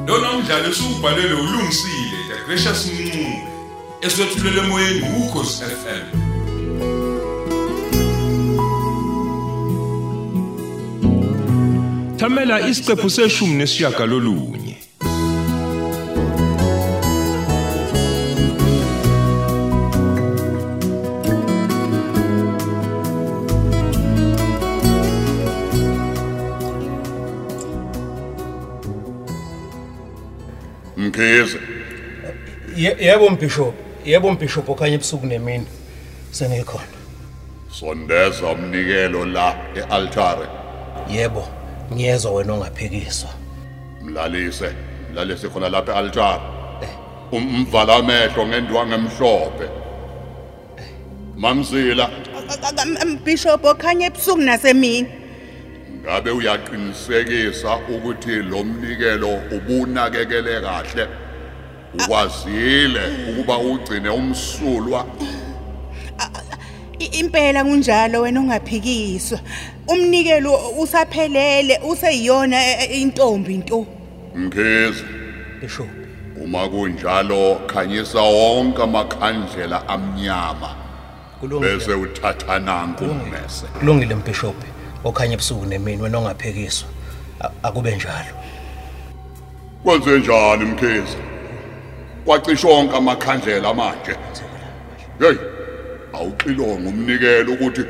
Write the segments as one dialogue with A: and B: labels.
A: umdlalo esubhalwe lo ulungisile the gracious mncube eswethulela emoyeni ukhosi FM Thamela isiqephu seshumi nesishagalolunye
B: Mkhize,
C: Ye- yebo mbhishophu yebo mbhishophu okhanye ebusuku nemini sengikhona
B: sondeza umnikelo la ealtare.
C: yebo ngiyezwa wena ongaphikiswa
B: Mlalise, mlalise khona lapha ealtare. Um, Umvala amehlo ngendwa ngemhlophe. Mamzila,
D: Bishop okhanye ebusuku nasemini.
B: ngabe uyaqinisekisa ukuthi lo mnikelo ubunakekele kahle. Ukwazile ukuba ugcine umsulwa
D: I- Impela kunjalo wena ongaphikiswa. Umnikelo usaphelele useyiyona e- e- intombi into.
B: Mkhize.
C: bhishophu
B: Uma kunjalo khanyisa wonke amakhandlela amnyama
C: kulungile
B: bese uthatha nanku ummese.
C: kulungile mbhishophu okhanye ebusuku nemini wena ongaphikiswa A- akube njalo
B: Kwenze njani Mkhize? Kwacishwa onke amakhandlela manje. Hey, awuxilonga umnikelo ukuthi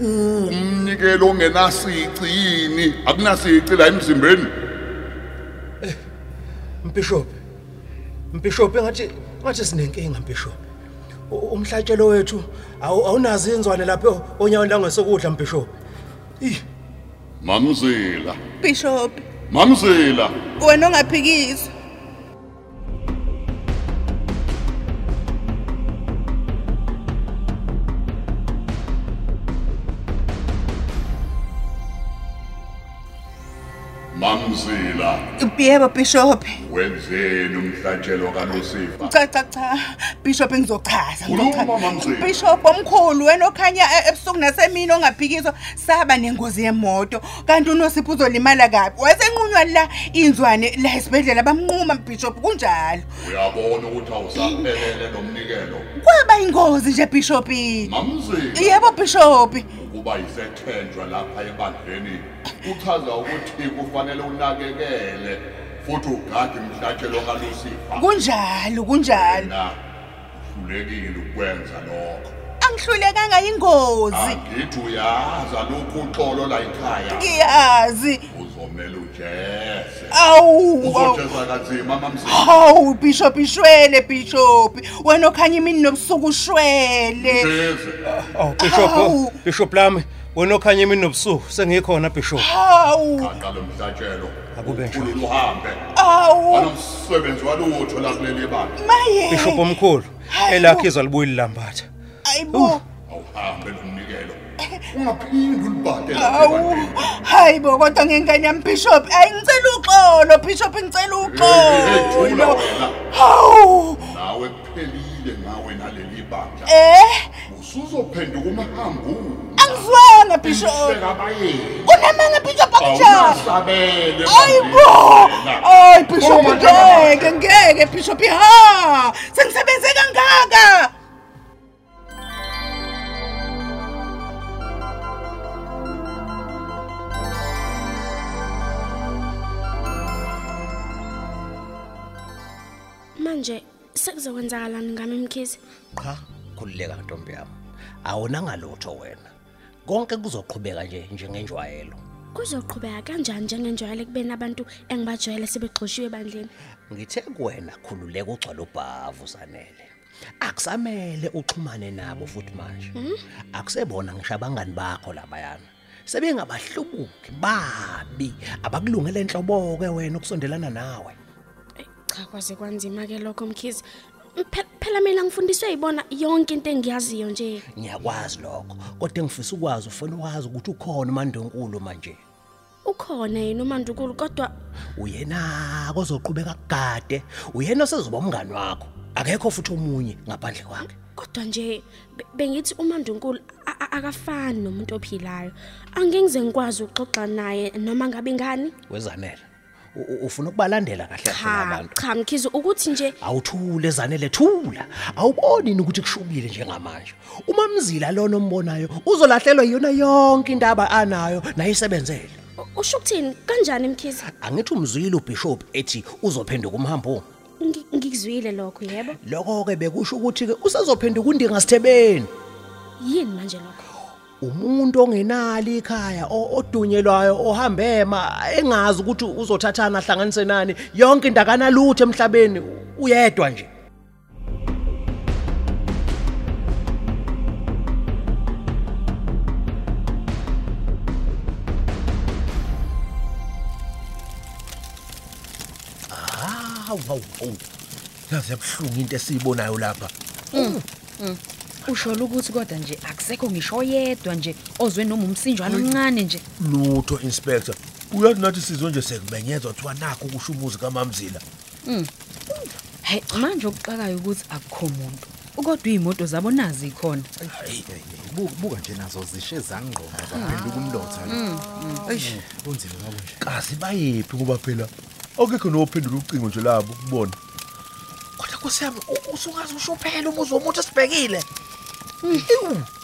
B: umnikelo ongenasici yini? Akunasici la emzimbeni.
C: mbhishophu mbhishophu engathi ngathi sinenkinga mbhishophu U- umhlatshelo wethu awu- awunazo inzwane lapho onyaweni langesokudla mbhishophu Ih,
B: Mamzila,
D: Bishop
B: Mamzila.
D: wena ongaphikiswa.
B: Mamzila,
D: Yebo Bishop.
B: wenzeni umhlatshelo kaLucifer?
D: Cha cha cha. Bishop ngizochaza.
B: Khuluma,
D: ngizochaza.
B: Mama Mzila.
D: Bishop omkhulu wena okhanya e- ebusuku nasemini ongaphikiswa saba nengozi yemoto. Kanti unosipho uzolimala kabi. Wayenqunywa la inzwane la esibedlela bamnquma Bishop kunjalo.
B: Uyabona ukuthi awusaphelele nomnikelo.
D: Kwaba ingozi nje Bishop.
B: Mamzila.
D: Yebo Bishop.
B: ukuba isethenjwa lapha ebandleni kuchaza ukuthi kufanele unakekele futhi ugade umhlatshelo kaLucifer
D: Kunjalo kunjalo.
B: na hlulekile ukwenza lokho
D: Angihlulekanga ingozi.
B: angithi uyaza lokhu uxolo la ekhaya
D: Ngiyazi.
B: uzomela ujeze
D: Awu. awu.
B: uzojeza kanzima mamzini
D: Hawu Bishop ishwele Bishop. Wena okhanya imini nobusuku ushwele.
B: jeze
C: awu bhishophu
D: Awu.
C: bhishophu lami wena okhanye imini nobusuku sengikhona bhishophu
D: Hawu.
B: qaqa lo mhlatshelo
C: Akube njalo.
B: ukhulula uhambe
D: Awu.
B: alomsebenzi walutho la kuleli bandla
D: Maye.
C: bhishophu omkhulu
D: Hayi bo.
C: elakhe izwa libuye lilambatha
D: Ayibo.
B: awuhambe lomnikelo ungaphindi ulibade lapha
D: Awu.
B: ebandleni
D: Hayibo kodwa ngengane yami Bishop. Ayingicela uxolo Bishop ngicela
B: Ethula
D: uxolo.
B: wena
D: Hawu.
B: nawe kuphelile ngawe naleli bandla
D: Eh.
B: usuzophenduka umahambuni
D: Angizwanga Bishop.
B: sekabayeni
D: unamanga bishop akunjalo
B: awunasabele
D: ayibo
B: bandla.
D: ayi bishop
B: Uma
D: ngeke ngeke bishop ha sengisebenze kangaka
E: manje sekuzokwenzakalani ngami mkhize
F: qha khulileka ntombi yami awunangalutho wena konke kuzoqhubeka nje njengenjwayelo
E: kuzoqhubeka kanjani njengenjwayele kubeni abantu engibajwayele sebegxoshiwe ebandleni
F: ngithe kuwena khululeka ugcwala ubhavu zanele akusamele uxhumane nabo futhi manje akusebona ngisho abangani bakho labayana sebengabahlubuki babi abakulungele enhlobo-ke wena ukusondelana nawe
E: Eh, cha kwaze kwanzima-ke lokho mkhize Phe- phela mina ngifundiswe yibona yonke into engiyaziyo nje
F: ngiyakwazi lokho kodwa engifisa ukwazi ufuna ukwazi ukuthi ukhona umandonkulu manje
E: ukhona yena umandukulu kodwa
F: uyena kozoqhubeka kugade uyena osezoba umngani wakho akekho futhi omunye ngaphandle kwakhe
E: kodwa nje be- bengithi umandunkulu a- a- akafani nomuntu ophilayo angeke ngize ngikwazi ukuxoxa naye noma ngabe ngani
F: wezanele u- u- ufuna ukubalandela kahle kahle
E: cha
F: abantu
E: cha mkhize ukuthi nje
F: awuthule zanele thula awuboni yini ukuthi kushubile njengamanje uma mzila lona ombonayo uzolahlelwa yona yonke indaba anayo nayisebenzele
E: u- usho ukuthini kanjani mkhize
F: angithi umzila ubishop ethi uzophenduka umhambo
E: Ngi- ngikuzwile lokho yebo
F: lokho ke bekusho ukuthi ke usezophenduka undinga sithebeni
E: yini manje lokho
F: umuntu ongenali ikhaya o- odunyelwayo ohamba ema engazi ukuthi uzothathana ahlanganise nani yonke into akanalutho emhlabeni u- uyedwa nje hawu hawu hawu Ah, yazi yabuhlungu into esiyibonayo lapha
G: usho ukuthi kodwa nje akusekho ngisho yedwa nje ozwe noma umsinjwana omncane nje
H: lutho inspector uyazi nathi sizwe nje sekubenyezwa kuthiwa nakho kusho umuzi kamamzila
G: hayi manje okuqakayo ukuthi akukho muntu kodwa iy'moto zabo nazi ikhona
I: buka buka nje nazo zishe zangqoma zaphenduka umlotha la eish kunzima ngabo nje
H: kazi bayiphi kuba phela akekho nophendula ucingo nje labo kubona
F: kodwa kusiyami usungazi usho phela umuzi womuntu esibhekile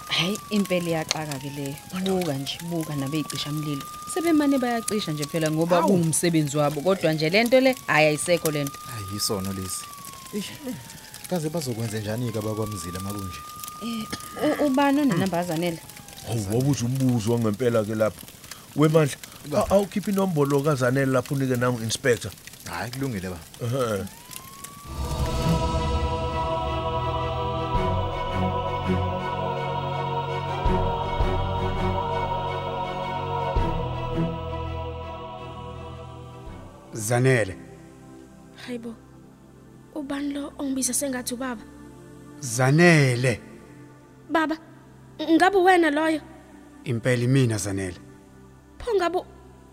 G: hayi impela iyaxaka-ke leyo buka nje buka nabey'cishamlilo sebemane bayacisha nje phela ngoba kuwumsebenzi wabo kodwa nje le nto le hhayi ayisekho le nto
I: hayi isono lesi eish kaze bazokwenza njani ke abakwamzila mabunje
G: U- ubani onenambazanele
H: hawu wabuza Oh, umbuzo wangempela ke lapha wemandla a- awukhiphi inombolo kazanele lapho unike nangu inspector
I: hayi kulungile baba
H: ehe
J: Zanele,
E: hayibo ubani lo ongibiza sengathi ubaba
J: Zanele,
E: baba ng- ngabe wena loyo
J: impela imina Zanele.
E: pho ngabe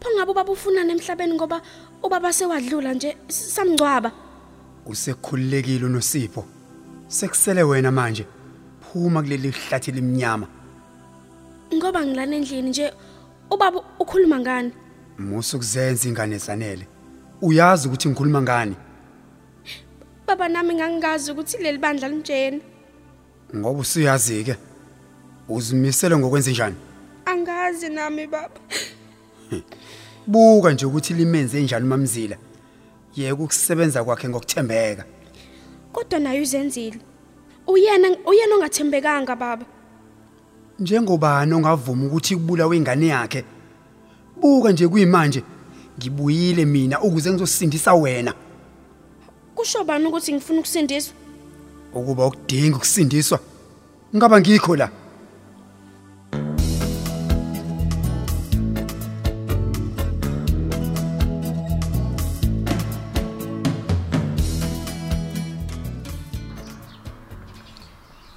E: pho ngabe ubaba ufunana emhlabeni ngoba ubaba sewadlula nje s- samgcwaba
J: Usekhululekile uNosipho. Sekusele wena manje. Phuma kuleli hlathi limnyama.
E: ngoba ngilana endlini nje ubaba ukhuluma ngani
J: Musu kuzenza ingane Zanele. Uyazi ukuthi ngikhuluma ngani
E: baba nami ngangingazi ukuthi leli bandla linjena
J: ngoba usuyazi ke. Uzimisele ngokwenza njani?
E: angazi nami baba
J: Buka nje ukuthi limenze njani uMamzila. Yeke ukusebenza kwakhe ngokuthembeka.
E: kodwa naye uzenzile uyena uyena ongathembekanga baba
J: njengobani ongavuma ukuthi kubulawe ingane yakhe buka nje kuyimanje ngibuyile mina ukuze ngizosindisa wena
E: kusho bani ukuthi ngifuna ukusindiswa
J: ukuba ukudinga ukusindiswa ngaba ngikho la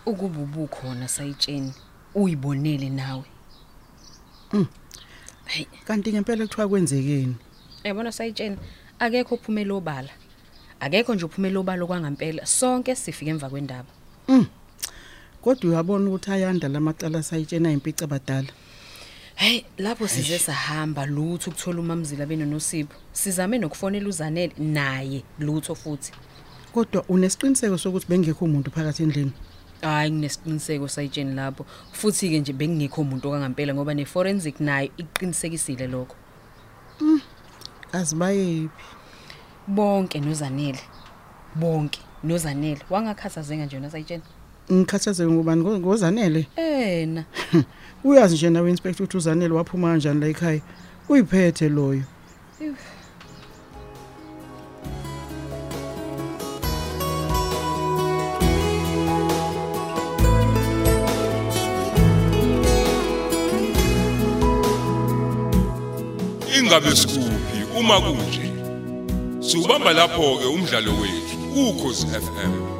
G: ukuba ubukhona sayitsheni uyibonele nawe hayi
K: Hmm. kanti ngempela kuthiwa kwenzekeni
G: yabona sayitsheni akekho ophumela obala akekho nje uphumela obala okwangempela sonke sifike emva kwendaba
K: Hmm. kodwa uyabona ukuthi ayanda lamacala sayitshena impica abadala
G: hayi lapho size sahamba lutho ukuthola umamzila benonosipho sizame nokufonela uzanele naye lutho futhi
K: kodwa unesiqiniseko sokuthi bengekho umuntu phakathi endlini
G: hayi nginesiqiniseko sayitsheni lapho futhi-ke nje bekungekho muntu okangempela ngoba ne-forensic nayo iqinisekisile lokho
K: azibayephi
G: bonke nozanele bonke nozanele wangakhathazeka nje nasayitsheni
K: ngikhathazeke ngubani Ngo- ngozanele
G: ena
K: uyazi nje nawe inspector ukuthi uzanele waphuma kanjani la ekhaya uyiphethe loyo
A: ingabe sikuphi uma kunje siubamba lapho ke umdlalo wethu ukhozi FM